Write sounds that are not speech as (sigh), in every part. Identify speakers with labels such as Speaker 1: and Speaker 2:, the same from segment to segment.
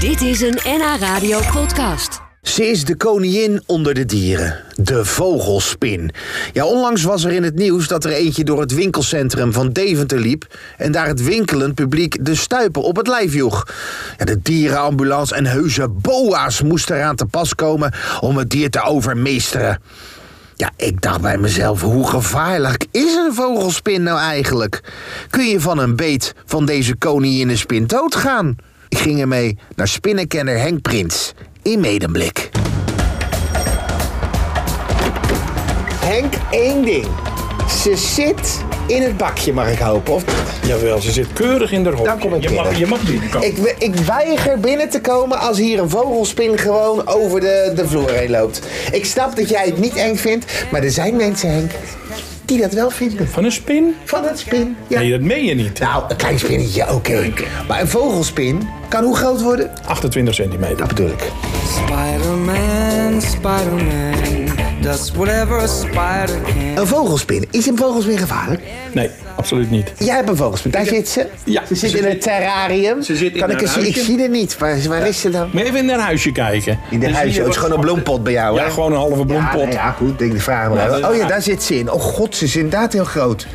Speaker 1: Dit is een NH Radio podcast.
Speaker 2: Ze is de koningin onder de dieren, de vogelspin. Ja, onlangs was er in het nieuws dat er eentje door het winkelcentrum van Deventer liep... en daar het winkelend publiek de stuipen op het lijf joeg. Ja, de dierenambulance en heuse boa's moesten eraan te pas komen om het dier te overmeesteren. Ja, ik dacht bij mezelf, hoe gevaarlijk is een vogelspin nou eigenlijk? Kun je van een beet van deze koninginnenspin doodgaan? Ik ging ermee naar spinnenkenner Henk Prins in Medemblik. Henk, één ding. Ze zit in het bakje, mag ik hopen. Of...
Speaker 3: Jawel, ze zit keurig in de hok.
Speaker 2: Dan kom ik
Speaker 3: je, mag,
Speaker 2: binnen.
Speaker 3: je mag binnenkomen.
Speaker 2: Ik, we- ik weiger binnen te komen als hier een vogelspin gewoon over de, de vloer heen loopt. Ik snap dat jij het niet eng vindt, maar er zijn mensen, Henk, die dat wel vinden.
Speaker 3: Van een spin?
Speaker 2: Van het spin. Ja.
Speaker 3: Nee, dat meen je niet.
Speaker 2: Nou, een klein spinnetje, oké. Maar een vogelspin kan hoe groot worden?
Speaker 3: 28
Speaker 2: Dat
Speaker 3: centimeter.
Speaker 2: bedoel ik.
Speaker 4: Spider-Man, Spider-Man does whatever a spider can.
Speaker 2: Een vogelspin. Is een vogelspin gevaarlijk?
Speaker 3: Nee, absoluut niet.
Speaker 2: Jij hebt een vogelspin. Daar zit ze.
Speaker 3: Ja,
Speaker 2: Ze zit
Speaker 3: ze
Speaker 2: in
Speaker 3: zit-
Speaker 2: een terrarium.
Speaker 3: ze zit in
Speaker 2: kan ik,
Speaker 3: haar
Speaker 2: eens zien? ik
Speaker 3: huisje.
Speaker 2: zie er niet. Waar, waar is ze dan?
Speaker 3: Moet je even in haar huisje kijken.
Speaker 2: In
Speaker 3: Dan
Speaker 2: de
Speaker 3: zie
Speaker 2: huisje.
Speaker 3: je
Speaker 2: Oh, Het is
Speaker 3: wat-
Speaker 2: gewoon een bloempot bij jou, hè?
Speaker 3: Ja, gewoon een halve
Speaker 2: Ja, nou
Speaker 3: bloempot.
Speaker 2: ja, goed. Denk de vraag maar.
Speaker 3: Ja,
Speaker 2: even.
Speaker 3: dat-
Speaker 2: oh ja, daar zit ze in. Oh god, ze is inderdaad heel groot.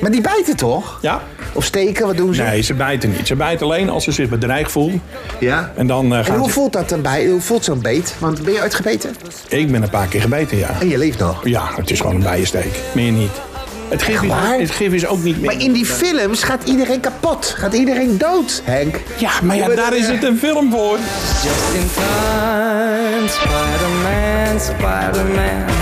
Speaker 2: Maar die bijten toch?
Speaker 3: Ja?
Speaker 2: Of steken, wat doen ze?
Speaker 3: Nee, ze bijten niet. Ze bijten alleen als ze zich bedreigd voelt.
Speaker 2: Ja.
Speaker 3: En dan eh,
Speaker 2: En
Speaker 3: gaan
Speaker 2: hoe
Speaker 3: ze...
Speaker 2: voelt dat dan bij? Hoe voelt zo'n beet? Want ben je ooit gebeten?
Speaker 3: Ik ben een paar keer gebeten, ja.
Speaker 2: En je leeft nog.
Speaker 3: Ja, het is gewoon een bijensteek. Meer niet. Het gif, is,
Speaker 2: waar?
Speaker 3: het gif is ook niet meer...
Speaker 2: Maar in die films gaat iedereen kapot. Gaat iedereen dood, Henk.
Speaker 3: Ja, maar ja,
Speaker 2: Je bent-
Speaker 3: daar is het een film voor.
Speaker 4: Just in time, Spider-Man, Spider-Man.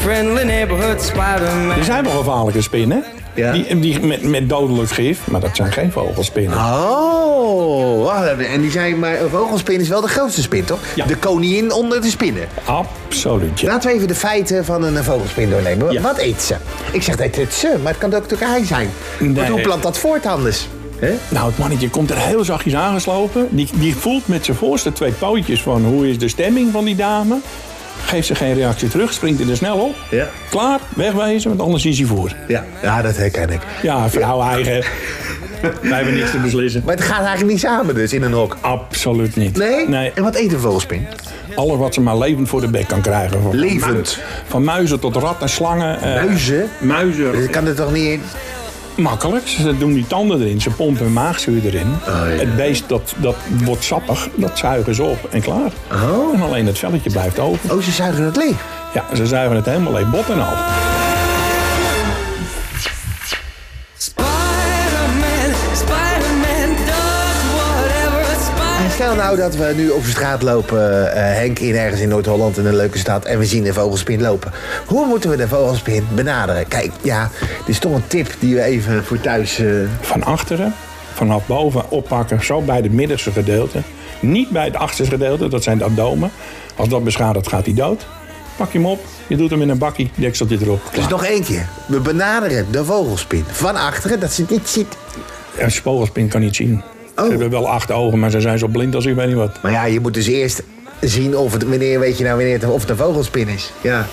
Speaker 4: Friendly neighborhood,
Speaker 3: Er
Speaker 4: Spider-Man.
Speaker 3: zijn wel gevaarlijke spinnen.
Speaker 2: Ja.
Speaker 3: Die, die met, met dodelijk gif. Maar dat zijn geen vogelspinnen.
Speaker 2: Oh, wacht even. En die zijn maar, een vogelspin is wel de grootste spin, toch?
Speaker 3: Ja.
Speaker 2: De koningin onder de spinnen.
Speaker 3: Absoluut, ja.
Speaker 2: Laten we even de feiten van een eh, vogelspin doornemen.
Speaker 3: Ja.
Speaker 2: Wat eet ze? Ik zeg dat het ze, maar het kan ook natuurlijk hij zijn.
Speaker 3: Nee.
Speaker 2: Want hoe plant dat voort anders? Hè?
Speaker 3: Nou, het mannetje komt er heel zachtjes aangeslopen. Die, die voelt met zijn voorste twee pootjes van hoe is de stemming van die dame. Geeft ze geen reactie terug, springt er snel op.
Speaker 2: Ja.
Speaker 3: Klaar, wegwezen, want anders is hij voor.
Speaker 2: Ja. ja, dat herken ik.
Speaker 3: Ja, vrouw eigen. (laughs) Wij hebben niks te beslissen.
Speaker 2: Maar het gaat eigenlijk niet samen dus in een hok.
Speaker 3: Absoluut niet.
Speaker 2: Nee?
Speaker 3: nee?
Speaker 2: En wat eet een vogelspin?
Speaker 3: Alles wat ze maar levend voor de bek kan krijgen. Van
Speaker 2: Levend.
Speaker 3: Van muizen tot ratten, slangen. eh,
Speaker 2: Muizen?
Speaker 3: Muizen.
Speaker 2: Dat Dus kan er toch niet in?
Speaker 3: Makkelijk, ze doen die tanden erin, ze pompen hun maagzuur erin.
Speaker 2: Ah, ja.
Speaker 3: Het beest dat, dat wordt sappig, dat zuigen ze op en klaar. En alleen het velletje blijft open.
Speaker 2: Oh, ze zuigen het leeg.
Speaker 3: Ja, ze zuigen het helemaal leeg, bot en al.
Speaker 4: Spider-Man, Spider-Man does whatever a spider
Speaker 2: En Stel nou dat we nu op straat lopen, eh, Henk, in ergens in Noord-Holland, in een leuke stad, en we zien een vogelspin lopen. Hoe moeten we de vogelspin benaderen? Kijk, ja, dit is toch een tip die we even voor thuis. eh,
Speaker 3: Van achteren, vanaf boven oppakken, zo bij het middenste gedeelte. Niet bij het achterste gedeelte, dat zijn de abdomen. Als dat beschadigd gaat hij dood. Pak je hem op, je doet hem in een bakje, dekseltje erop.
Speaker 2: Dus
Speaker 3: Klaar.
Speaker 2: nog één keer. We benaderen de vogelspin van achteren, dat ze het niet ziet.
Speaker 3: Een vogelspin kan niet zien.
Speaker 2: Oh.
Speaker 3: Ze hebben wel acht ogen, maar ze zijn zo blind als ik weet niet wat.
Speaker 2: Maar ja, je moet dus eerst zien of het, wanneer weet je nou wanneer het, of het een vogelspin is. Ja.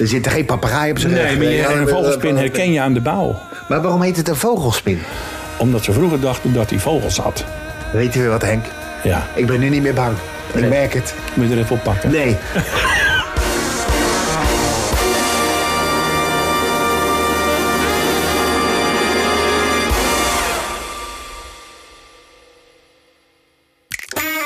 Speaker 2: Er zit er geen papegaai op zijn
Speaker 3: Nee,
Speaker 2: rug.
Speaker 3: maar je-
Speaker 2: Ja,
Speaker 3: een vogelspin herken je aan de bouw.
Speaker 2: Maar waarom heet het een vogelspin?
Speaker 3: Omdat ze vroeger dachten dat hij vogels had.
Speaker 2: Weet je weer wat, Henk?
Speaker 3: Ja,
Speaker 2: Ik ben nu niet meer bang. Ik merk het.
Speaker 3: moet je er even op pakken.
Speaker 2: Nee.